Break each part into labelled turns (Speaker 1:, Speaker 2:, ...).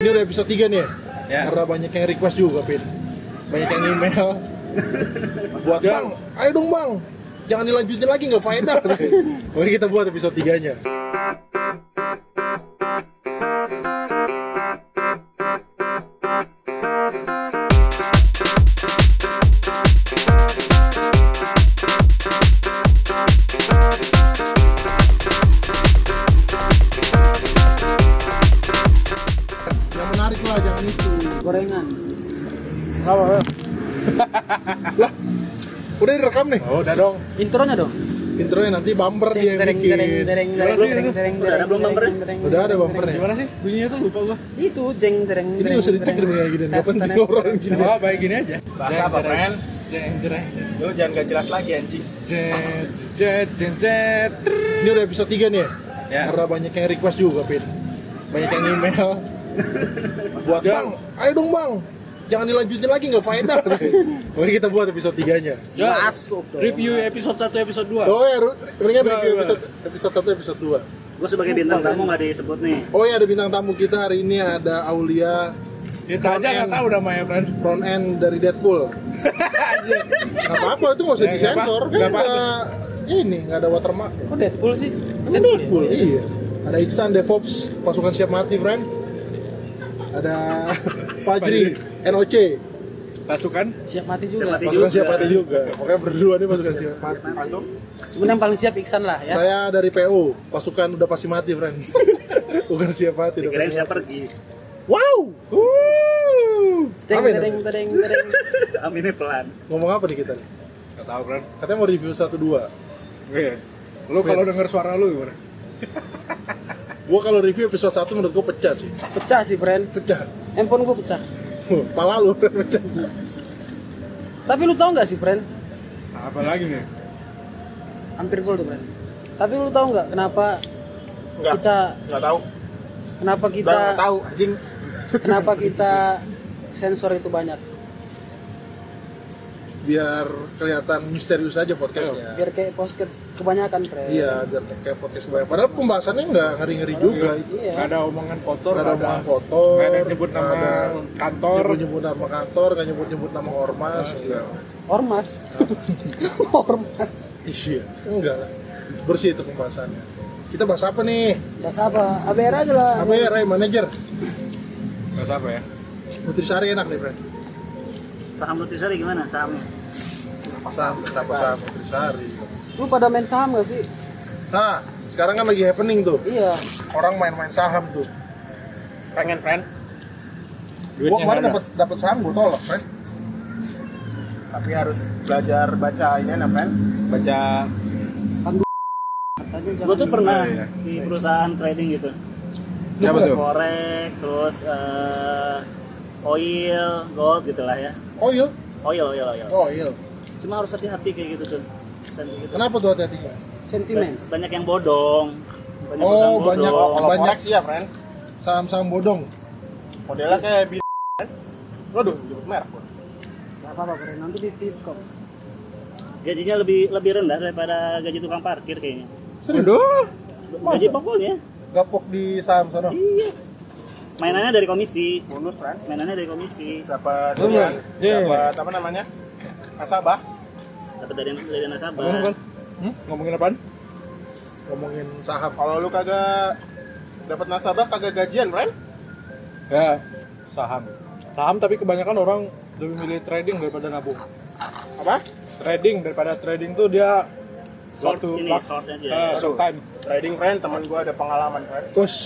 Speaker 1: Ini udah episode 3 nih ya?
Speaker 2: Ya.
Speaker 1: Karena banyak yang request juga, Pin. Banyak yang email. buat Bang, ayo dong Bang. Jangan dilanjutin lagi, nggak faedah. Oke, kita buat episode 3-nya. Yang menarik lah, jangan itu.
Speaker 3: gorengan
Speaker 1: Lah, udah direkam nih.
Speaker 2: Oh, udah dong.
Speaker 3: intronya dong
Speaker 1: Intronya nanti bumper dia yang bikin.
Speaker 2: Gimana sih itu? Udah ada belum bumpernya?
Speaker 1: Udah ada bumpernya.
Speaker 2: Gimana sih? Bunyinya tuh lupa gua.
Speaker 3: itu jeng dereng
Speaker 1: Ini nggak usah di-tag demi kayak gini, nggak penting orang gitu? gini.
Speaker 2: Wah, baik gini aja.
Speaker 4: Bahasa apa, Pren?
Speaker 2: Jeng jereng.
Speaker 4: Lu jangan gak jelas lagi anjing.
Speaker 2: Jet jet jet jet.
Speaker 1: Ini udah episode 3 nih ya?
Speaker 2: Ya.
Speaker 1: Karena banyak yang request juga, Pin. Banyak yang email. buat Bang, ayo dong Bang. Jangan dilanjutin lagi, nggak faedah. Oke, kita buat episode 3-nya.
Speaker 2: Jo,
Speaker 3: masuk dong
Speaker 2: Review episode 1 episode 2.
Speaker 1: Oh ya, ru- mendingan
Speaker 2: Dua,
Speaker 1: review
Speaker 2: dua.
Speaker 1: episode episode 1 episode 2.
Speaker 5: Gue sebagai bintang tamu nggak disebut nih.
Speaker 1: Oh ya, ada bintang tamu kita hari ini ada Aulia
Speaker 2: Kita Ya, aja
Speaker 1: Kalian.
Speaker 2: enggak tahu namanya, Bren.
Speaker 1: front end dari Deadpool. Gak apa-apa itu nggak usah
Speaker 2: Ya, nggak
Speaker 1: disensor
Speaker 2: apa-
Speaker 1: kan
Speaker 2: nggak apa-apa.
Speaker 1: nggak ini nggak ada watermark.
Speaker 3: kok Deadpool sih
Speaker 1: Ini Deadpool, iya. Ada Iksan DevOps pasukan siap mati, friend. Ada Fajri NOC
Speaker 2: Pasukan.
Speaker 3: siap mati juga
Speaker 5: Siap mati.
Speaker 1: pasukan
Speaker 5: juga.
Speaker 1: siap mati juga. Oke berdua nih pasukan siap mati.
Speaker 3: cuman yang paling siap Iksan lah ya
Speaker 1: Saya dari PU pasukan udah pasti mati, friend. Bukan siap mati, udah
Speaker 5: Kira
Speaker 1: pasti
Speaker 5: bisa
Speaker 1: mati.
Speaker 5: pergi.
Speaker 1: Wow. Wuh.
Speaker 3: jeng
Speaker 1: Apa ini?
Speaker 3: dereng dereng dereng
Speaker 5: Aminnya pelan.
Speaker 1: Ngomong apa nih kita nih?
Speaker 2: Enggak tahu, Bren.
Speaker 1: Katanya mau review 1 2.
Speaker 2: Iya. Lu kalau denger suara lu gimana?
Speaker 1: Gua kalau review episode 1 menurut gua pecah sih.
Speaker 3: pecah sih friend
Speaker 1: Pecah.
Speaker 3: handphone gua pecah
Speaker 1: Huh, Pala lu friend, pecah.
Speaker 3: tapi lu tau nggak sih friend
Speaker 2: Nah, apa lagi nih?
Speaker 3: hampir gol tuh friend tapi lu tau nggak kenapa
Speaker 4: Enggak.
Speaker 3: kita
Speaker 4: Enggak tahu.
Speaker 3: kenapa
Speaker 4: Kita
Speaker 3: kita
Speaker 4: enggak tahu anjing.
Speaker 3: kenapa kita sensor itu banyak
Speaker 1: Biar kelihatan misterius aja podcastnya.
Speaker 3: biar kayak posket kebanyakan friend
Speaker 1: Iya, biar kayak podcast kebanyakan. Padahal pembahasannya nggak ngeri-ngeri juga. itu.
Speaker 3: iya
Speaker 2: Nggak ada omongan kotor,
Speaker 1: Nggak ada
Speaker 2: nggak
Speaker 1: omongan kotor,
Speaker 2: nggak ada nyebut nama
Speaker 1: nggak ada
Speaker 2: kantor.
Speaker 1: nyebut-nyebut nama kantor, nggak nyebut-nyebut nama ormas. Iya,
Speaker 3: ormas ormas
Speaker 1: iya. enggak lah. Bersih itu pembahasannya. Kita bahas apa nih?
Speaker 3: bahasa apa ABR aja lah
Speaker 1: Apa ya, Ray Manager?
Speaker 2: Enggak apa ya?
Speaker 1: Nutrisari enak nih, Fred.
Speaker 5: Saham Nutrisari gimana sahamnya?
Speaker 1: Kenapa saham? Kenapa saham Nutrisari?
Speaker 3: lu pada main saham gak sih
Speaker 1: Nah, sekarang kan lagi happening tuh.
Speaker 3: iya
Speaker 1: Orang main-main saham tuh.
Speaker 2: Pengen, friend.
Speaker 1: Gua kemarin dapat dapat saham, gua tolak, Fred.
Speaker 4: Tapi harus belajar baca ini apa Pren?
Speaker 2: baca
Speaker 3: katanya
Speaker 5: Gue tuh pernah
Speaker 2: Iya, iya.
Speaker 5: Nah, di perusahaan trading gitu.
Speaker 2: Siapa tuh?
Speaker 5: Forex, terus eh, oil, gold gitulah ya.
Speaker 1: Oil?
Speaker 5: Oil, oil, oil.
Speaker 1: Oil.
Speaker 5: Cuma harus hati-hati kayak gitu tuh. Pesan gitu.
Speaker 1: iya. Kenapa tuh hati-hatinya?
Speaker 3: sentimen
Speaker 5: Banyak yang bodong. Banyak
Speaker 1: Oh,
Speaker 5: bodong
Speaker 1: banyak
Speaker 5: bodong.
Speaker 1: Kalau
Speaker 4: Banyak
Speaker 1: forex
Speaker 4: sih ya, Pren.
Speaker 1: Saham-saham bodong.
Speaker 4: Modelnya kayak bi Waduh, nyebut merek gua.
Speaker 3: gak apa-apa bro nanti di titkom
Speaker 5: Gajinya lebih lebih rendah daripada gaji tukang parkir kayaknya.
Speaker 1: Serius? Aduh.
Speaker 5: Gaji pokoknya.
Speaker 1: Gapok di saham sana.
Speaker 5: Iya. Mainannya dari komisi.
Speaker 4: Bonus, Pren.
Speaker 5: Mainannya dari komisi.
Speaker 4: Dapat
Speaker 2: Lu,
Speaker 4: ini,
Speaker 2: Pren? Iya.
Speaker 4: dapat apa namanya? Nasabah.
Speaker 5: Dapat dari dari nasabah.
Speaker 2: Ngomongin apaan?
Speaker 1: Hmm?
Speaker 2: Ngomongin apaan?
Speaker 1: Ngomongin saham.
Speaker 4: Kalau lu kagak dapat nasabah kagak gajian, Pren.
Speaker 2: Ya, saham. Saham tapi kebanyakan orang lebih milih trading daripada nabung.
Speaker 4: Apa?
Speaker 2: Trading daripada trading tuh dia
Speaker 5: Short ini,
Speaker 2: wak-
Speaker 5: short aja.
Speaker 2: eh, short time
Speaker 4: Trading, Pren. Temen gua ada pengalaman, Pren.
Speaker 1: Kus.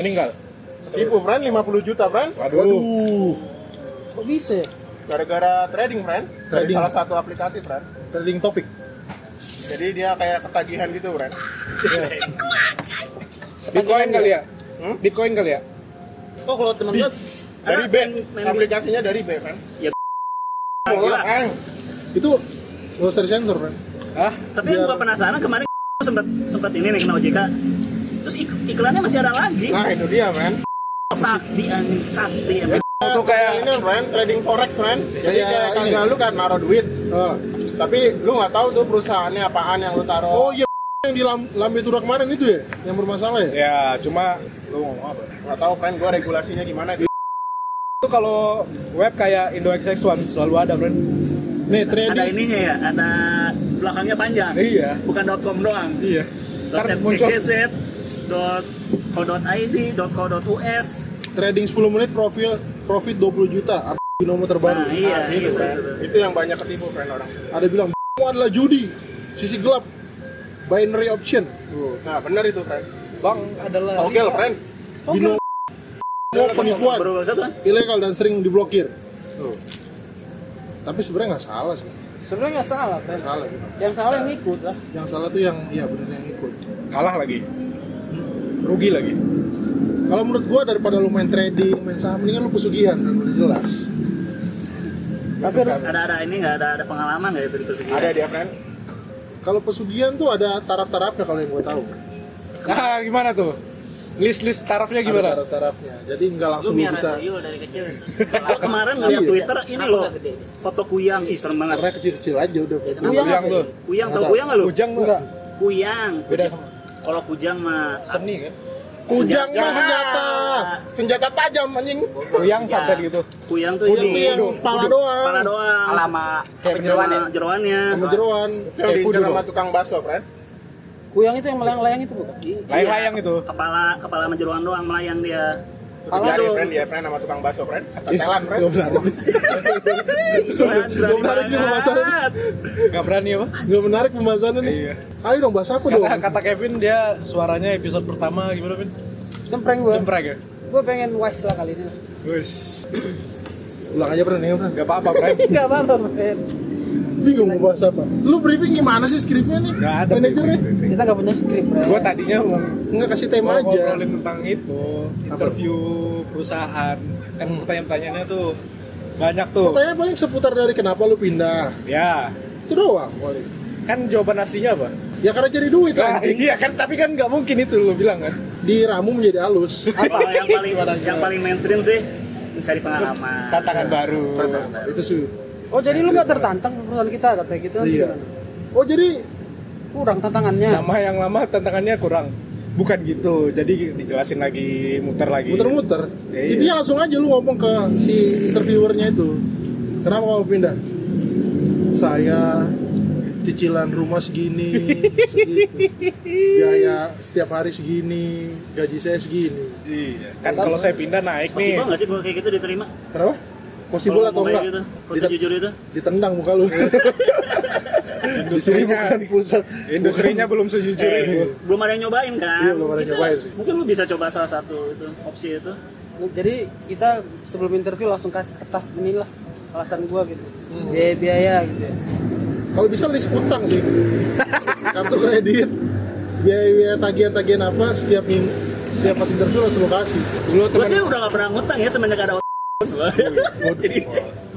Speaker 2: meninggal.
Speaker 4: Tipu, Pren. 50 juta, Pren.
Speaker 2: Waduh.
Speaker 1: Waduh.
Speaker 3: kok bisa ya?
Speaker 4: Gara-gara trading, Pren. Dari
Speaker 1: Trading.
Speaker 4: salah satu aplikasi, Pren.
Speaker 1: Trending topik.
Speaker 4: Jadi dia kayak ketagihan gitu, Pren.
Speaker 2: Bitcoin kali ya?
Speaker 4: Hmm?
Speaker 2: Bitcoin kali ya?
Speaker 5: Kok kalau temen gue
Speaker 4: Dari
Speaker 5: Ah,
Speaker 4: B,
Speaker 5: main- main
Speaker 4: aplikasinya dari B, Pren.
Speaker 5: bola.
Speaker 1: Itu nggak usah disensor, Bro.
Speaker 2: Hah?
Speaker 5: Tapi yang gue
Speaker 1: Biar-
Speaker 5: penasaran kemarin sempat sempat ini nih kena OJK. Terus ik- iklannya masih ada lagi.
Speaker 4: Nah, itu dia, Pren.
Speaker 5: Sakti anjing, sakti emang.
Speaker 2: Itu kayak
Speaker 4: Nah, ini Ren, trading forex Ren jadi
Speaker 1: Kayak
Speaker 4: kayak
Speaker 1: ini.
Speaker 4: kagak lu kan naruh duit
Speaker 1: Ah.
Speaker 4: tapi lu nggak tahu tuh perusahaannya apaan yang lu taruh
Speaker 1: Oh iya yang di Lam- Lambe Tura kemarin itu ya yang bermasalah ya?
Speaker 2: ya cuma
Speaker 4: nggak tahu Ren gua regulasinya gimana gitu
Speaker 2: Itu kalau web kayak Indo XX1 selalu ada, Bro.
Speaker 1: Nih,
Speaker 5: Ada
Speaker 1: trading.
Speaker 5: ininya ya, ada belakangnya panjang.
Speaker 2: Iya.
Speaker 5: Bukan .com doang.
Speaker 2: Iya.
Speaker 5: Dot
Speaker 2: Ntar muncul
Speaker 5: .xyz, dot co dot .id, dot co dot .us.
Speaker 1: Trading 10 menit profil profit 20 juta. Apa binomo terbaru?
Speaker 5: Nah,
Speaker 1: Ah,
Speaker 5: iya, gitu.
Speaker 4: Itu yang banyak ketipu friend orang.
Speaker 1: Ada bilang "Kamu adalah judi, sisi gelap, binary option.
Speaker 4: Nah, benar itu friend.
Speaker 2: Bang adalah
Speaker 3: Oh,
Speaker 4: Togel friend.
Speaker 1: Binomo penipuan,
Speaker 5: Baru baru satu kan?
Speaker 1: ilegal dan sering diblokir. Tuh. Tapi sebenarnya nggak salah sih,
Speaker 3: Sebenarnya nggak salah,
Speaker 1: nggak
Speaker 3: friend.
Speaker 1: salah gitu.
Speaker 3: Yang salah yang ikut lah.
Speaker 1: Yang salah tuh yang, iya benar yang ikut.
Speaker 2: kalah lagi. Rugi lagi.
Speaker 1: Kalau menurut gua daripada lu main trading, main saham, mendingan lu pesugihan, dan udah jelas.
Speaker 3: Tapi harus
Speaker 5: Ada ada ini nggak ada ada pengalaman nggak itu di kesugihan?
Speaker 4: Ada dia friend.
Speaker 1: Kalau pesugihan tuh ada taraf-tarafnya kalau yang gua tahu.
Speaker 2: Nah, gimana tuh? List-list tarafnya
Speaker 1: Ada
Speaker 2: gimana?
Speaker 1: taraf-tarafnya. Jadi nggak langsung lu bisa.
Speaker 3: dari kecil.
Speaker 5: Gua kemarin ngeliat
Speaker 1: Iya.
Speaker 5: Twitter ini
Speaker 3: Kenapa
Speaker 5: loh
Speaker 3: nggak gede?
Speaker 5: foto kuyang ih serem banget.
Speaker 1: Karena kecil-kecil aja udah.
Speaker 3: Kuyang
Speaker 2: Kuyang
Speaker 3: apa
Speaker 2: tuh.
Speaker 5: Kuyang tau
Speaker 1: Nggak
Speaker 5: kuyang nggak lu?
Speaker 2: Kujang tuh.
Speaker 3: Enggak.
Speaker 5: Kuyang.
Speaker 2: Beda sama
Speaker 5: Kalau kujang mah
Speaker 2: seni kan?
Speaker 1: Kujang mah senjata.
Speaker 4: Senjata tajam anjing.
Speaker 2: Kuyang santet gitu.
Speaker 5: kuyang tuh
Speaker 1: Kujang tuh
Speaker 5: ini
Speaker 1: yang pala doang.
Speaker 5: kepala doang. Nah,
Speaker 6: Lama kayak
Speaker 5: Sama
Speaker 6: jeruan ya.
Speaker 5: jeroannya.
Speaker 1: Sama jeroan. Eh,
Speaker 4: Yang
Speaker 1: Kayak
Speaker 4: diincar
Speaker 1: kudu
Speaker 4: sama
Speaker 1: loh.
Speaker 4: tukang bakso friend.
Speaker 3: Kuyang itu yang melayang-layang itu bukan?
Speaker 5: Iya,
Speaker 2: Layang-layang itu.
Speaker 5: Kepala kepala sama jeroan doang melayang dia.
Speaker 4: Dicari friend dia friend sama tukang bakso friend. Tetelan friend.
Speaker 1: Nggak menarik. Nggak menarik nih pembahasannya. nih.
Speaker 2: Gak berani apa?
Speaker 1: Nggak menarik pembahasannya nih.
Speaker 2: Iya.
Speaker 1: Ayo dong bahas apa dong?
Speaker 2: Kata, kata Kevin dia suaranya episode pertama gimana Vin?
Speaker 3: Sempreng gue.
Speaker 2: Cempreng ya?
Speaker 3: Gue pengen wise lah kali ini.
Speaker 2: Wis.
Speaker 1: Ulang aja pernah nih, Pren.
Speaker 2: Gak apa-apa, Prem.
Speaker 3: Enggak apa-apa, friend.
Speaker 1: Bingung mau bahas apa? Lu briefing gimana sih skripnya nih?
Speaker 2: Gak ada.
Speaker 1: Manajernya?
Speaker 3: Kita nggak punya skrip, friend.
Speaker 2: Gue tadinya mau
Speaker 1: Nggak kasih tema
Speaker 2: mau
Speaker 1: aja.
Speaker 2: ngobrolin tentang itu, interview perusahaan. Kan pertanyaan-pertanyaannya tuh banyak tuh.
Speaker 1: Tanya paling seputar dari kenapa lu pindah.
Speaker 2: Ya,
Speaker 1: Itu doang paling.
Speaker 2: kan jawaban aslinya apa?
Speaker 1: Ya karena cari duit anjing.
Speaker 2: iya kan, tapi kan nggak mungkin itu lo bilang kan.
Speaker 1: Diramu menjadi halus.
Speaker 5: Kalau yang paling yang paling mainstream sih mencari pengalaman.
Speaker 2: Tantangan baru.
Speaker 1: Tantang. Itu sih.
Speaker 3: Oh, jadi lu nggak tertantang perusahaan kita katanya gitu. nanti
Speaker 1: Iya.
Speaker 3: gimana?
Speaker 1: Oh jadi
Speaker 3: Kurang tantangannya.
Speaker 2: Sama yang lama tantangannya kurang. Bukan gitu, jadi dijelasin lagi, muter lagi.
Speaker 1: muter-muter.
Speaker 2: Iya.
Speaker 1: Intinya langsung aja lu ngomong ke si interviewernya itu. Kenapa kamu pindah? Saya cicilan rumah segini, segitu. biaya setiap hari segini, gaji saya segini.
Speaker 2: Iya. Kan kalau saya pindah naik nih.
Speaker 5: Possible nggak sih gue kayak gitu diterima?
Speaker 1: Kenapa? Possible
Speaker 5: Kalau
Speaker 1: atau
Speaker 5: ngomong kayak
Speaker 1: enggak?
Speaker 5: Gitu, kalau
Speaker 1: Diter-
Speaker 5: jujur itu.
Speaker 1: ditendang muka lu. Industri
Speaker 2: Industrinya.
Speaker 1: bukan pusat.
Speaker 2: Industrinya belum sejujur
Speaker 5: Eh,
Speaker 2: itu.
Speaker 5: belum ada yang nyobain kan?
Speaker 1: Iya, belum ada yang
Speaker 5: Kita-
Speaker 1: nyobain sih.
Speaker 5: Mungkin lu bisa coba salah satu itu opsi itu.
Speaker 3: Jadi kita sebelum interview langsung kasih kertas inilah alasan gua gitu. Biaya-biaya gitu ya.
Speaker 1: Kalau bisa list utang sih. Kartu kredit, biaya-biaya tagihan-tagihan apa setiap minggu setiap pas interview langsung lu kasih.
Speaker 2: Dulu
Speaker 5: Gue sih
Speaker 2: teman
Speaker 5: udah nggak pernah ngutang ya semenjak ada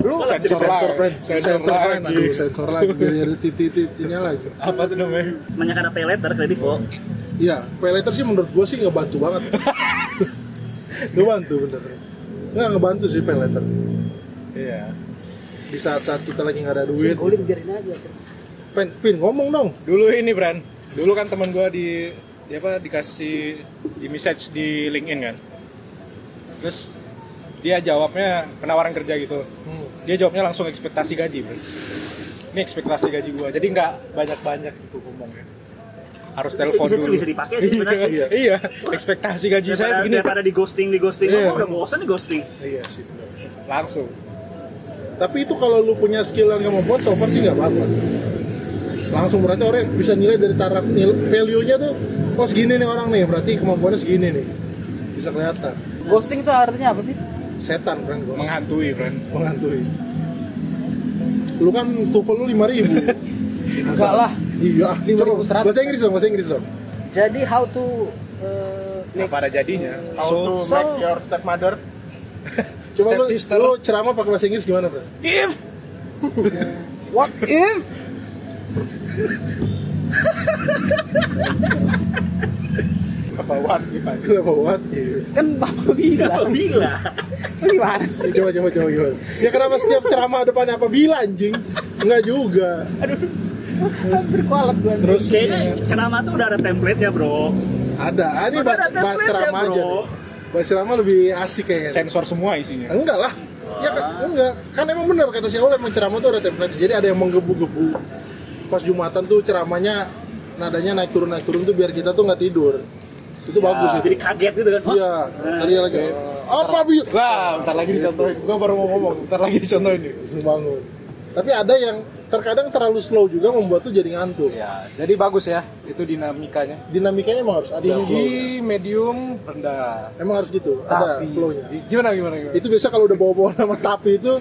Speaker 2: lu sensor
Speaker 1: sensor
Speaker 2: lagi.
Speaker 1: friend
Speaker 2: Sensor
Speaker 1: sensor friend
Speaker 2: lagi.
Speaker 1: aduh sensor lagi dari dari titik titiknya lagi
Speaker 2: Apa tuh namanya?
Speaker 5: semenjak ada pay letter kredivo.
Speaker 1: iya pay later sih menurut gua sih ngebantu banget ngebantu bener nggak ngebantu sih pay later
Speaker 2: Iya.
Speaker 1: di saat-saat kita lagi nggak ada duit
Speaker 3: Singkulin biarin aja. gitu.
Speaker 1: pin pin ngomong dong
Speaker 2: Dulu ini, Bran. Dulu kan teman gua di di apa dikasih di message di LinkedIn kan. Terus dia jawabnya penawaran kerja gitu. Dia jawabnya langsung ekspektasi gaji, Bro. Ini ekspektasi gaji gua. Jadi nggak banyak-banyak gitu ngomongnya. Harus telepon
Speaker 5: Bisa- bisa-
Speaker 2: dulu.
Speaker 5: bisa dipakai sih sebenarnya.
Speaker 2: Iya, iya. Ekspektasi gaji saya segini
Speaker 5: daripada di ghosting di ghosting
Speaker 2: Iya.
Speaker 5: Gua udah bosan di ghosting
Speaker 1: iya sih bener.
Speaker 2: langsung.
Speaker 1: tapi itu kalau lu punya skill dan kemampuan so far sih nggak apa-apa langsung berarti orang bisa nilai dari taraf nil- value-nya tuh oh segini nih orang nih berarti kemampuannya segini nih bisa kelihatan
Speaker 3: Ghosting itu artinya apa sih?
Speaker 1: setan friend gua
Speaker 2: Menghantui, Bran.
Speaker 1: menghantui lu kan tuvel lu lima ribu
Speaker 3: Enggak lah.
Speaker 1: iya ah,
Speaker 3: 5.100.
Speaker 1: coba. bahasa Inggris dong bahasa Inggris dong
Speaker 3: Jadi how to uh, make
Speaker 2: Apa ada jadinya?
Speaker 4: How
Speaker 2: So,
Speaker 4: to
Speaker 3: so-
Speaker 4: make your stepmother
Speaker 1: coba
Speaker 2: Step
Speaker 1: lu,
Speaker 2: sister.
Speaker 1: lu ceramah pakai bahasa Inggris gimana bro
Speaker 2: if
Speaker 3: what if
Speaker 4: kebawaan gitu.
Speaker 1: kenapa what
Speaker 3: kan bapak
Speaker 2: Oh,
Speaker 3: bilang
Speaker 5: bila
Speaker 3: Lu gimana sih?
Speaker 1: coba coba coba gimana ya kenapa setiap ceramah depannya apa bila anjing enggak juga
Speaker 3: Hampir kualat gua.
Speaker 2: terus
Speaker 5: kayaknya ceramah tuh udah ada template ya bro
Speaker 1: ada ah, ini
Speaker 5: Udah
Speaker 1: bahasa,
Speaker 5: ada
Speaker 1: bahasa
Speaker 5: template ya
Speaker 1: ceramah aja
Speaker 5: bro
Speaker 1: nih. Bang Cirama lebih asik kayaknya.
Speaker 2: sensor semua isinya
Speaker 1: Enggak lah. Ya kan, enggak. Kan emang benar kata si Awal emang ceramah tuh ada template. Jadi ada yang menggebu-gebu. Pas Jumatan tuh ceramahnya nadanya naik turun naik turun tuh biar kita tuh nggak tidur. Itu
Speaker 2: Ya.
Speaker 1: bagus itu.
Speaker 5: Jadi kaget gitu kan. Hah?
Speaker 1: Iya, tadi lagi eh, apa bi?
Speaker 2: wah bentar lagi dicontohin gua baru mau ngomong bentar lagi dicontohin nih
Speaker 1: Langsung bangun. Tapi ada yang terkadang terlalu slow juga membuat tuh jadi ngantuk.
Speaker 2: ya jadi bagus ya itu dinamikanya
Speaker 1: Dinamikanya emang harus ada. flow-nya.
Speaker 2: tinggi medium rendah
Speaker 1: Emang harus gitu, ada
Speaker 2: tapi
Speaker 1: flow-nya.
Speaker 2: gimana gimana gimana
Speaker 1: Itu biasa kalau udah bawa-bawa nama tapi itu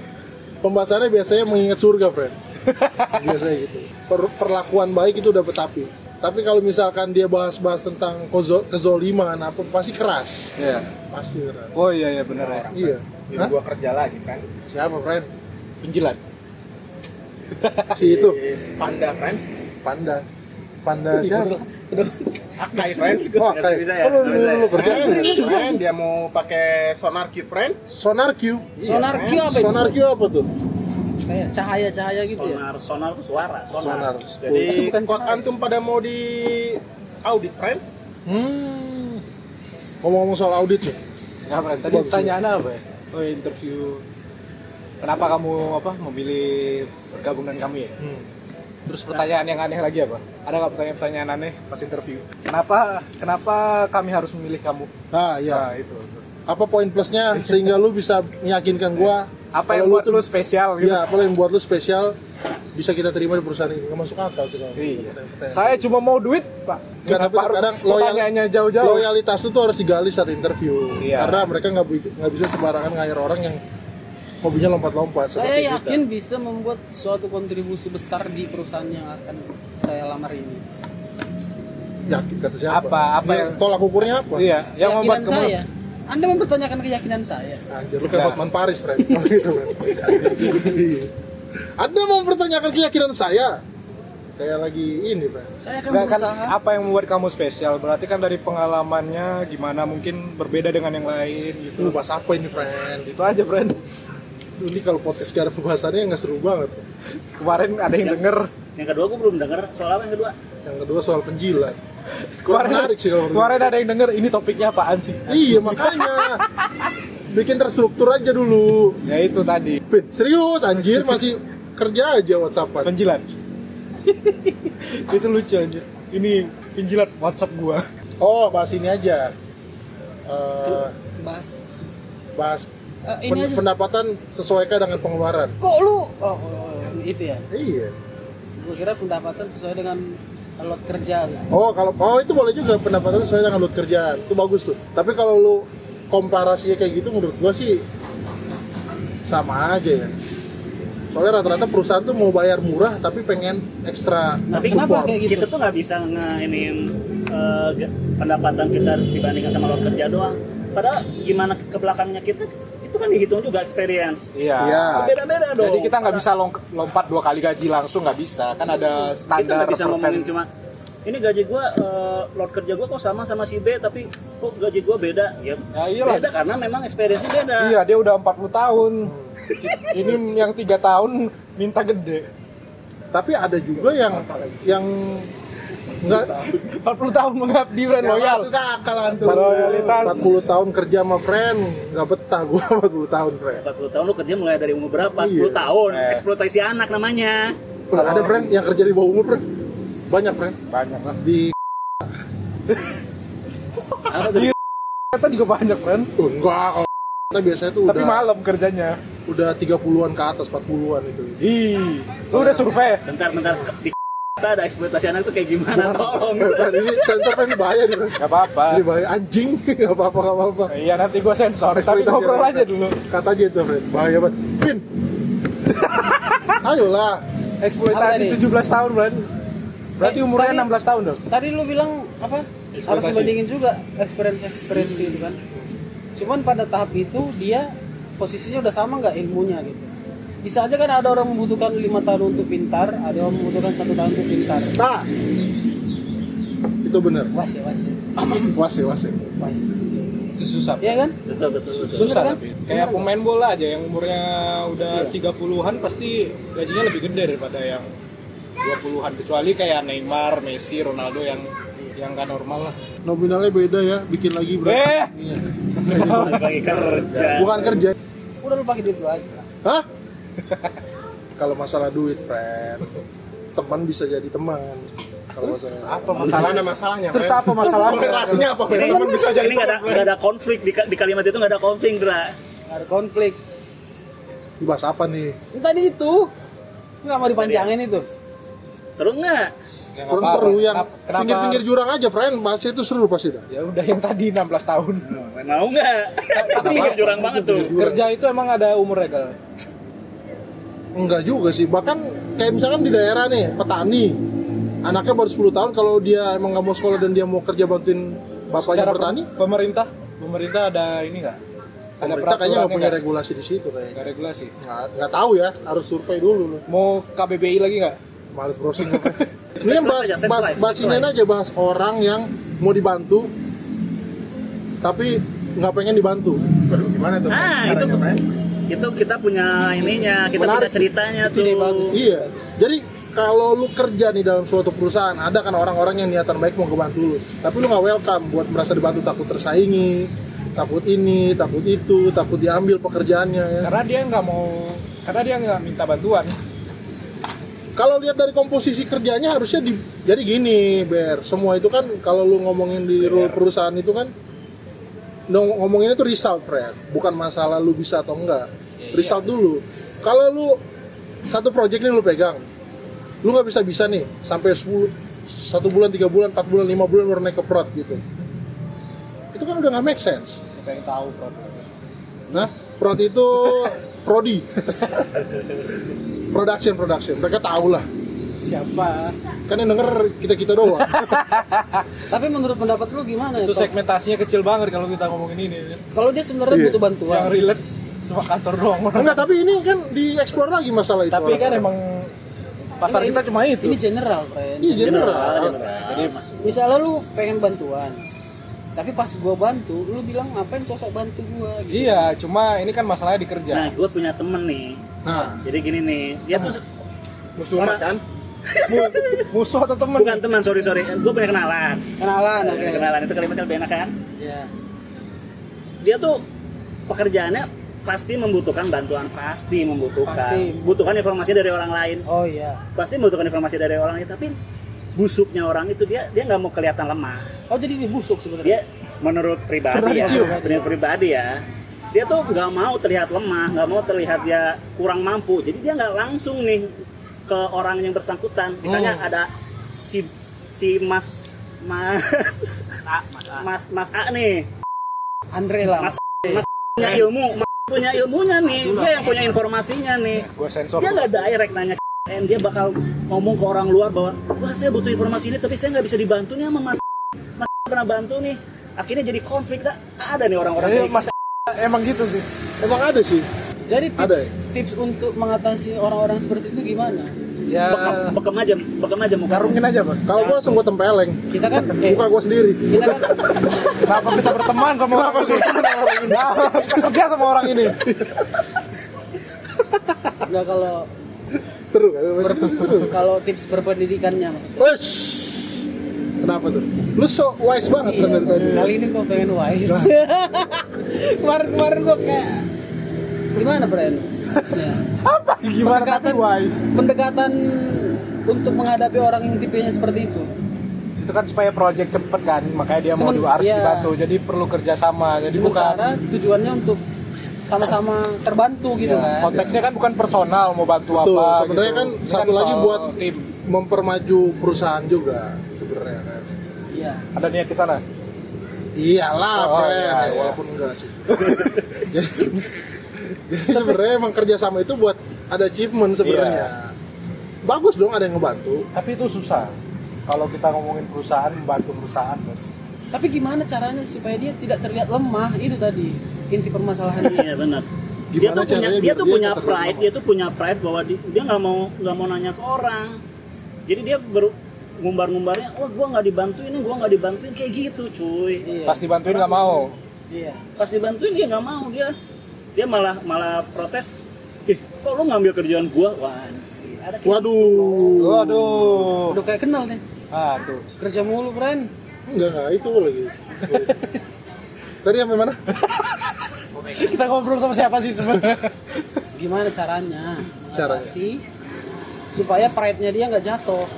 Speaker 1: pembahasannya biasanya mengingat surga, friend. biasanya gitu. Per- perlakuan baik itu udah tapi. Tapi kalau misalkan dia bahas-bahas tentang kozo- kezoliman apa pasti keras,
Speaker 2: Iya.
Speaker 1: pasti keras.
Speaker 2: oh iya iya benar ya
Speaker 1: Iya.
Speaker 4: Jadi
Speaker 1: Hah?
Speaker 4: gua kerja lagi kan.
Speaker 1: Siapa, friend?
Speaker 2: penjilat
Speaker 5: Iya.
Speaker 1: Si itu
Speaker 4: Di Panda kan.
Speaker 1: panda. Panda siapa?
Speaker 4: Akai friend.
Speaker 1: Oh, kayak.
Speaker 5: Iya. bisa ya?
Speaker 1: Oh, lu lu- lu- lu kerjaan.
Speaker 4: Friend, friend, dia mau pakai sonar Q friend.
Speaker 1: Sonar Q.
Speaker 3: Sonar Q apa itu?
Speaker 1: eh, Sonar Q apa tuh?
Speaker 3: Kayak cahaya-cahaya gitu ya.
Speaker 5: Sonar, sonar tuh suara.
Speaker 1: Sonar.
Speaker 5: Jadi
Speaker 4: Jadi
Speaker 3: bukan
Speaker 4: kot
Speaker 3: sonar.
Speaker 4: antum pada mau di audit friend.
Speaker 1: Hmm. Ngomong-ngomong soal audit ya.
Speaker 2: ya Fran tadi
Speaker 1: Bagus,
Speaker 2: pertanyaan apa ya oh interview kenapa kamu apa memilih bergabung dengan kami ya Terus pertanyaan yang aneh lagi apa? Ada nggak pertanyaan-pertanyaan aneh pas interview? Kenapa kenapa kami harus memilih kamu?
Speaker 1: Ah, iya.
Speaker 2: Nah, itu.
Speaker 1: Apa poin plusnya sehingga lu bisa meyakinkan gua
Speaker 2: Apa yang
Speaker 1: kalau
Speaker 2: buat
Speaker 1: tuh-
Speaker 2: lu spesial gitu?
Speaker 1: Iya, apa yang buat lu spesial bisa kita terima di perusahaan ini. Gak masuk akal sih kalau.
Speaker 2: Iya.
Speaker 1: pertanyaan-pertanyaan.
Speaker 2: Saya cuma mau duit, Pak.
Speaker 1: Nggak, tapi
Speaker 2: Kenapa harus
Speaker 1: kadang loyal-
Speaker 2: pertanyaannya jauh-jauh?
Speaker 1: Loyalitas lu tuh harus digali saat interview.
Speaker 2: Iya.
Speaker 1: Karena mereka nggak bu- nggak bisa sembarangan ngair orang yang hobinya lompat-lompat
Speaker 3: Saya
Speaker 1: seperti kita.
Speaker 3: yakin bisa membuat suatu kontribusi besar di perusahaan yang akan saya lamar ini.
Speaker 1: Yakin kata siapa?
Speaker 2: Apa? Apa
Speaker 1: Dia
Speaker 2: yang-
Speaker 1: tolak ukurnya apa?
Speaker 2: Iya, yang membuat
Speaker 3: Keyakinan
Speaker 2: kamu
Speaker 3: saya. Anda mempertanyakan keyakinan saya.
Speaker 1: Anjir, lu kayak Hotman Paris, Fred. Kalau gitu, Fred. Iya. Anda mau mempertanyakan keyakinan saya? Kayak lagi ini, Fred.
Speaker 3: Saya akan
Speaker 2: Nggak, kan,
Speaker 3: berusaha.
Speaker 2: apa yang membuat kamu spesial? Berarti kan dari pengalamannya gimana mungkin berbeda dengan yang lain gitu.
Speaker 1: Lu bahas apa ini, friend?
Speaker 2: Itu aja, friend.
Speaker 1: Ini kalau podcast gak ada pembahasannya nggak seru banget.
Speaker 2: Kemarin ada
Speaker 1: Ya.
Speaker 2: yang denger.
Speaker 5: yang kedua gue belum denger soal apa yang kedua.
Speaker 1: Yang kedua soal penjilat. Kurang
Speaker 2: Kemarin,
Speaker 1: menarik sih kalau menurut
Speaker 2: kemarin ada yang denger. Ini topiknya apaan sih?
Speaker 1: gua. Iya, makanya. Bikin terstruktur aja dulu.
Speaker 2: Ya itu tadi.
Speaker 1: Pin, serius anjir masih kerja aja WhatsAppan.
Speaker 2: penjilat itu lucu anjir ini penjilat WhatsApp gua
Speaker 1: Oh, bahas ini aja. Eh,
Speaker 3: Bahas.
Speaker 1: bahas
Speaker 3: Eh, ini
Speaker 1: pen-
Speaker 3: aja.
Speaker 1: pendapatan sesuaikan dengan pengeluaran.
Speaker 3: Kok lu? Oh, oh, itu ya.
Speaker 1: Iya.
Speaker 3: Gue kira pendapatan sesuai dengan lot kerja. gitu.
Speaker 1: Oh kalau oh itu boleh juga pendapatan sesuai dengan load kerjaan itu bagus tuh. Tapi kalau lu komparasinya kayak gitu menurut gua sih sama aja ya. Soalnya rata-rata perusahaan tuh mau bayar murah tapi pengen ekstra
Speaker 5: Tapi
Speaker 3: kenapa
Speaker 1: support.
Speaker 3: kayak gitu?
Speaker 5: Kita tuh nggak bisa ngeinin eh, ge- pendapatan kita dibandingkan sama luar kerja doang. Padahal gimana ke belakangnya kita itu kan dihitung juga experience.
Speaker 2: iya
Speaker 1: Iya.
Speaker 5: Beda-beda dong.
Speaker 2: jadi kita nggak bisa long- lompat dua kali gaji langsung nggak bisa kan ada
Speaker 5: kita
Speaker 2: standar
Speaker 5: nggak bisa
Speaker 2: persen
Speaker 5: ngomongin cuma ini gaji gua eh, load kerja gua kok sama sama si B tapi kok gaji gua beda ya,
Speaker 2: Ya iyalah.
Speaker 5: beda karena memang experience beda
Speaker 2: iya dia udah 40 tahun ini yang tiga tahun minta gede
Speaker 1: Tapi ada juga yang yang enggak
Speaker 2: 40 tahun mengabdi friend loyal
Speaker 4: Suka akal antum.
Speaker 2: loyalitas
Speaker 1: 40 tahun kerja sama friend nggak betah gua 40 tahun friend.
Speaker 5: 40 tahun lu kerja mulai dari umur berapa?
Speaker 1: Iya.
Speaker 5: 10 tahun.
Speaker 2: Eh.
Speaker 5: Eksploitasi anak namanya.
Speaker 1: Wah, ada friend yang kerja di bawah umur friend. Banyak friend
Speaker 2: banyak lah
Speaker 1: di
Speaker 5: Apa tuh?
Speaker 2: Iya. kita juga banyak friend
Speaker 1: oh, enggak kalau kita biasanya tuh
Speaker 2: tapi
Speaker 1: udah
Speaker 2: malam kerjanya
Speaker 1: udah 30-an ke atas 40-an itu.
Speaker 2: ih lu udah survei
Speaker 5: Bentar bentar di kita ada eksploitasi anak tuh kayak gimana tolong.
Speaker 1: Friend, ini sensor kan bahaya nih. Friend.
Speaker 2: Gak apa-apa
Speaker 1: Ini bahaya anjing, nggak apa-apa, nggak apa-apa.
Speaker 2: iya nanti gua sensor tapi
Speaker 1: Eksploitasi
Speaker 2: ngobrol
Speaker 1: orang.
Speaker 2: aja dulu
Speaker 1: Kata aja itu, Fred. Bahaya banget. Pin. Ayolah.
Speaker 3: Apa tadi?
Speaker 2: Eksploitasi 17 tahun, Bran. Berarti
Speaker 3: Eh,
Speaker 2: umurnya
Speaker 3: tadi-
Speaker 2: 16 tahun dong.
Speaker 3: Tadi lu bilang apa? Harus
Speaker 2: Ekspektasi.
Speaker 3: dibandingin juga experience experience itu kan. Cuman pada tahap itu dia posisinya udah sama nggak ilmunya gitu. Bisa aja kan ada orang membutuhkan lima tahun untuk pintar, ada orang membutuhkan satu tahun untuk pintar.
Speaker 1: Nah. Itu benar.
Speaker 3: Was ya, was ya,
Speaker 1: Wase, wase.
Speaker 3: was.
Speaker 2: Itu susah.
Speaker 3: Iya kan?
Speaker 5: Betul betul betul.
Speaker 3: Bener
Speaker 2: Susah
Speaker 3: kan?
Speaker 2: tapi. Kayak pemain bola aja yang umurnya
Speaker 1: Iya.
Speaker 2: udah 30-an pasti gajinya lebih gede daripada yang 20-an kecuali kayak Neymar, Messi, Ronaldo yang yang nggak normal lah
Speaker 1: nominalnya beda ya bikin lagi berarti
Speaker 2: eh
Speaker 1: Iya.
Speaker 5: bagi kerja
Speaker 1: bukan kerja
Speaker 3: udah lu pakai duit lu aja
Speaker 1: hah kalau masalah duit friend teman bisa jadi teman kalau masalah
Speaker 4: apa masalahnya masalahnya
Speaker 1: terus apa masalahnya
Speaker 4: relasinya apa Fer?
Speaker 5: ini, kan
Speaker 4: teman bisa jadi
Speaker 5: ini nggak ada nggak ada konflik di, ka- di kalimat itu nggak ada konflik Dra
Speaker 3: Nggak ada konflik
Speaker 1: bahas apa nih
Speaker 3: Ini tadi itu nggak mau dipanjangin itu
Speaker 5: seru nggak
Speaker 2: ya, nggak
Speaker 1: kurang
Speaker 2: apa-apa.
Speaker 1: seru yang
Speaker 2: Kenapa- kenapa-
Speaker 1: pinggir-pinggir jurang aja friend bahasnya itu seru pasti dah
Speaker 2: ya udah yang tadi 16 tahun
Speaker 5: mau nggak tapi jurang banget tuh
Speaker 2: kerja itu emang ada umurnya gal
Speaker 1: Enggak juga sih, bahkan kayak misalkan di daerah nih, petani Anaknya baru 10 tahun, kalau dia emang nggak mau sekolah dan dia mau kerja bantuin bapaknya
Speaker 2: Secara
Speaker 1: bertani
Speaker 2: pe- pemerintah pemerintah ada ini nggak ada
Speaker 1: Pemerintah kayaknya nggak punya
Speaker 2: peraturannya
Speaker 1: regulasi di situ
Speaker 2: nggak?
Speaker 1: kayaknya
Speaker 2: Nggak regulasi
Speaker 1: Nggak, nggak tahu ya, harus survei dulu lu
Speaker 2: mau KBBI lagi nggak
Speaker 1: Males browsing Ini yang bahas,
Speaker 5: aja, sex
Speaker 1: bahas,
Speaker 5: life,
Speaker 1: bahas
Speaker 5: sex
Speaker 1: ini
Speaker 5: life.
Speaker 1: aja, bahas orang yang mau dibantu Tapi nggak pengen dibantu
Speaker 4: Waduh, gimana tuh
Speaker 5: Ah,
Speaker 4: caranya,
Speaker 5: itu-
Speaker 4: Fer?
Speaker 5: itu kita punya ininya kita
Speaker 1: Menarik.
Speaker 5: punya ceritanya
Speaker 3: Itu
Speaker 5: tuh
Speaker 3: ide bagus.
Speaker 1: Iya, jadi kalau lu kerja nih dalam suatu perusahaan, ada kan orang-orang yang niatan baik mau ngebantu lu, tapi lu nggak welcome buat merasa dibantu takut tersaingi, takut ini, takut itu, takut diambil pekerjaannya. ya.
Speaker 2: karena dia nggak mau karena dia nggak minta bantuan
Speaker 1: Kalau lihat dari komposisi kerjanya harusnya di, jadi gini, Ber, semua itu kan kalau lu ngomongin di role perusahaan itu kan ngom- ngomonginnya itu result, friend, bukan masalah lu bisa atau enggak. Result dulu. Kalau lu satu project nih lu pegang, lu nggak bisa bisa nih sampai 10 satu bulan tiga bulan empat bulan lima bulan baru naik ke prod gitu itu kan udah nggak make sense
Speaker 2: siapa yang tahu problem
Speaker 1: nah prod itu prodi production production mereka tahu lah
Speaker 2: siapa
Speaker 1: kan yang denger kita kita doang
Speaker 3: tapi menurut pendapat lu gimana ya
Speaker 2: itu
Speaker 3: Tom?
Speaker 2: segmentasinya kecil banget kalau kita ngomongin ini
Speaker 3: kalau dia sebenarnya
Speaker 1: Iya.
Speaker 3: butuh bantuan
Speaker 2: yang relate cuma kantor doang
Speaker 1: enggak tapi ini kan di explore lagi masalah itu
Speaker 2: tapi kan emang pasar
Speaker 3: Ini-
Speaker 2: kita cuma itu
Speaker 3: ini general friend
Speaker 1: iya general,
Speaker 5: jadi masuk
Speaker 3: misalnya lu pengen bantuan tapi pas gua bantu lu bilang ngapain sosok bantu gua gitu.
Speaker 2: iya cuma ini kan masalahnya di kerja
Speaker 5: nah gue punya temen nih
Speaker 1: nah
Speaker 5: jadi gini nih dia tuh se-
Speaker 4: musuhan kan
Speaker 2: Mu- musuh atau temen
Speaker 5: bukan teman sorry sorry gue punya kenalan
Speaker 3: kenalan Nah, oke
Speaker 5: Punya eh, kenalan itu kalimatnya lebih enak kan
Speaker 3: ya
Speaker 5: dia tuh pekerjaannya pasti membutuhkan bantuan pasti membutuhkan
Speaker 3: Pasti.
Speaker 5: butuhkan informasi dari orang lain
Speaker 3: oh iya
Speaker 5: pasti membutuhkan informasi dari orang lain tapi busuknya orang itu dia dia nggak mau kelihatan lemah
Speaker 3: oh jadi dia busuk sebenarnya
Speaker 5: dia menurut pribadi ya
Speaker 1: Tercium.
Speaker 5: menurut pribadi ya dia tuh nggak mau terlihat lemah nggak mau terlihat dia kurang mampu jadi dia nggak langsung nih ke orang yang bersangkutan misalnya
Speaker 1: Hmm.
Speaker 5: ada si si mas mas mas mas A nih
Speaker 3: Andre lah
Speaker 5: Mas- punya ilmu mas punya ilmunya nih dia yang punya informasinya nih
Speaker 2: gue sensor
Speaker 5: dia nggak direct nanya ke and dia bakal ngomong ke orang luar bahwa wah saya butuh informasi ini tapi saya nggak bisa dibantu nih sama mas mas pernah bantu nih akhirnya jadi konflik dah ada nih orang-orang
Speaker 2: Jadi
Speaker 5: kayak
Speaker 2: mas emang gitu sih
Speaker 1: emang ada sih
Speaker 3: jadi
Speaker 1: Ada
Speaker 5: ya?
Speaker 3: tips tips untuk mengatasi orang-orang seperti itu gimana
Speaker 2: ya
Speaker 5: bekem, bekem aja bekem aja muka
Speaker 2: garungin aja bang
Speaker 1: kalau gua langsung gua tempeleng
Speaker 3: kita kan eh,
Speaker 1: buka gua sendiri
Speaker 3: kita kan
Speaker 2: kenapa bisa berteman sama orang ini Kenapa bisa kerja sama orang ini
Speaker 3: nggak kalau
Speaker 1: seru kan Maksudnya seru
Speaker 3: kalau tips berpendidikannya maksudnya.
Speaker 1: Wesh. Kenapa tuh? Lu so wise banget kan dari tadi.
Speaker 2: Iya.
Speaker 3: kali ini gua pengen wise
Speaker 5: Nah.
Speaker 3: kemarin-kemarin gua kayak gimana Bren? Tipsnya?
Speaker 2: apa gimana tapi
Speaker 3: Pendekatan-
Speaker 2: wise
Speaker 3: pendekatan untuk menghadapi orang yang tipenya seperti itu
Speaker 2: itu kan supaya project cepet kan makanya dia mau
Speaker 3: Semen-
Speaker 2: di- harus
Speaker 3: iya.
Speaker 2: dibantu jadi perlu kerjasama jadi bukan
Speaker 3: sementara tujuannya untuk sama-sama terbantu gitu
Speaker 2: Iya,
Speaker 3: kan
Speaker 2: konteksnya kan bukan personal mau bantu
Speaker 1: Betul,
Speaker 2: apa
Speaker 1: sebenarnya
Speaker 2: gitu.
Speaker 1: kan
Speaker 2: Ini
Speaker 1: satu lagi
Speaker 2: soal
Speaker 1: buat-
Speaker 2: tim
Speaker 1: Mempermaju perusahaan juga sebenarnya kan.
Speaker 3: iya
Speaker 2: ada niat ke sana
Speaker 1: Iyalah,
Speaker 2: Oh,
Speaker 1: friend.
Speaker 2: iya,
Speaker 1: Ya,
Speaker 2: iya.
Speaker 1: walaupun enggak sih. Jadi jadi sebenarnya emang kerjasama itu buat ada achievement
Speaker 2: Iya.
Speaker 1: sebenarnya. Bagus dong ada yang ngebantu.
Speaker 2: tapi itu susah kalau kita ngomongin perusahaan membantu perusahaan bos.
Speaker 3: tapi gimana caranya supaya dia tidak terlihat lemah itu tadi inti permasalahannya
Speaker 5: iya benar dia
Speaker 1: Gimana
Speaker 5: tuh punya
Speaker 1: caranya
Speaker 5: dia
Speaker 1: biar
Speaker 5: tuh
Speaker 1: dia
Speaker 5: punya
Speaker 1: nggak terlalu
Speaker 5: pride
Speaker 1: lama?
Speaker 5: dia tuh punya pride bahwa di- dia nggak mau nggak mau nanya ke orang jadi dia baru ngumbar-ngumbarnya wah gua nggak dibantuin nih gua nggak dibantuin kayak gitu cuy
Speaker 3: iya
Speaker 2: pas dibantuin nggak mau
Speaker 3: iya
Speaker 5: pas dibantuin dia nggak mau dia dia malah malah protes ih kok lu ngambil kerjaan gua wah anjir, ada kayak-
Speaker 2: Oh,
Speaker 1: Waduh.
Speaker 2: waduh
Speaker 3: udah kayak kenal nih
Speaker 2: ah tuh
Speaker 3: kerja mulu Bren
Speaker 1: Enggak, enggak, itu lagi. Tadi sampai mana?
Speaker 2: Kita ngobrol sama siapa sih sebenarnya?
Speaker 3: Gimana caranya?
Speaker 1: Caranya.
Speaker 3: Mengatasi supaya pride-nya dia nggak jatuh.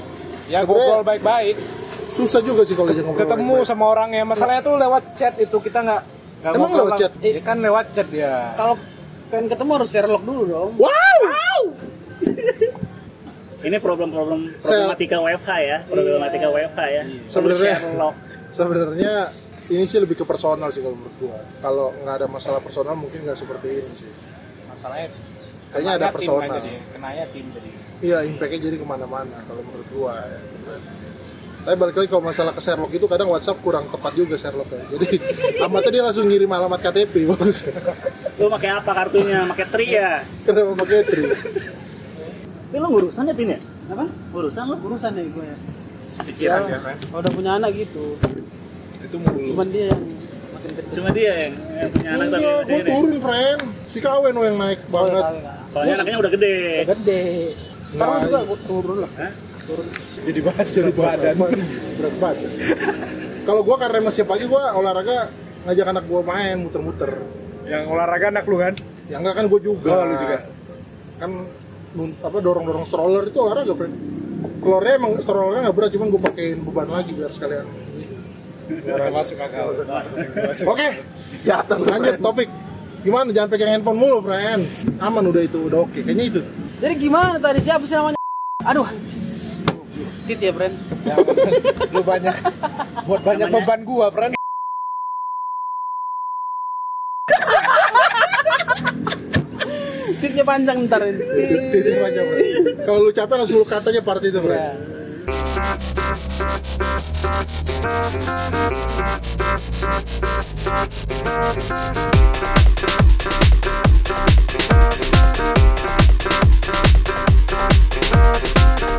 Speaker 2: ya
Speaker 1: Sebenarnya-
Speaker 2: ngobrol baik-baik.
Speaker 1: Susah juga sih kalau diajak ngobrol.
Speaker 2: Ketemu
Speaker 1: baik-baik.
Speaker 2: sama orang yang masalahnya tuh lewat chat itu kita nggak nggak
Speaker 1: Emang
Speaker 2: ngobrol
Speaker 1: lewat
Speaker 2: lang-
Speaker 1: chat?
Speaker 2: Ya kan lewat chat ya.
Speaker 3: Kalau pengen ketemu harus Sherlock dulu dong.
Speaker 1: Wow!
Speaker 5: Ini
Speaker 1: Sel.
Speaker 5: problem-problem
Speaker 1: Iya.
Speaker 5: problematika WFH ya, problematika WFH ya.
Speaker 1: Sebenarnya-
Speaker 5: Sherlock.
Speaker 1: Sebenarnya ini sih lebih ke personal sih kalau menurut gua. Kalau nggak ada masalah personal mungkin nggak seperti ini sih.
Speaker 2: Masalahnya
Speaker 1: Kayaknya ada
Speaker 2: kenanya tim
Speaker 1: personal.
Speaker 2: aja dia, Kenanya tim jadi.
Speaker 1: Iya, impact-nya jadi kemana-mana kalau menurut gua. Ya. Tapi balik lagi kalau masalah ke Sherlock itu kadang WhatsApp kurang tepat juga Sherlock ya. Jadi amatnya dia langsung ngirim alamat KTP bagus.
Speaker 5: Lu pakai apa kartunya? Pakai tri ya.
Speaker 1: Kenapa pakai tri?
Speaker 5: Tapi lu urusan ya, Pin ya?
Speaker 3: Apa?
Speaker 5: Urusan lu.
Speaker 3: Urusan ya gue ya.
Speaker 2: Pikiran
Speaker 3: Ya,
Speaker 2: ya kan.
Speaker 3: kalau udah punya anak gitu.
Speaker 2: Itu mulu.
Speaker 3: Cuman dia yang makin kecil.
Speaker 5: Cuma dia yang, yang punya anak tapi
Speaker 1: Enggak,
Speaker 5: masih
Speaker 1: Iya, gua
Speaker 5: ini.
Speaker 1: turun, friend. Si Kawen yang naik banget.
Speaker 5: Soalnya anaknya udah gede.
Speaker 3: Udah Gede. Ntar lu
Speaker 1: Nah,
Speaker 3: juga gua turun lah. ya.
Speaker 5: Hah?
Speaker 3: Turun.
Speaker 2: jadi bahas
Speaker 1: Jadi berat badan. Berat badan. Kalau gua karena masih pagi gua olahraga ngajak anak gua main muter-muter.
Speaker 2: Yang olahraga anak lu kan?
Speaker 1: Ya enggak kan gua juga.
Speaker 2: Oh, lu juga.
Speaker 1: Kan nun- apa dorong-dorong stroller itu olahraga, friend. Keluarnya emang strollernya nggak berat, cuman gua pakein beban lagi biar sekalian.
Speaker 2: Udah masuk akal.
Speaker 1: Oke, lanjut topik. Gimana? Jangan pegang handphone mulu, friend. Aman udah itu, udah oke. Kayaknya itu.
Speaker 3: Jadi gimana tadi siapa sih namanya? Aduh. Tit ya, Bren.
Speaker 2: lu banyak buat banyak
Speaker 5: Namanya-
Speaker 2: beban gua, Pren.
Speaker 3: Titnya panjang ntar ini. Tit.
Speaker 1: Titik aja, Bro. Kalau lu capek langsung lu katanya part itu, Bro.
Speaker 3: Ya.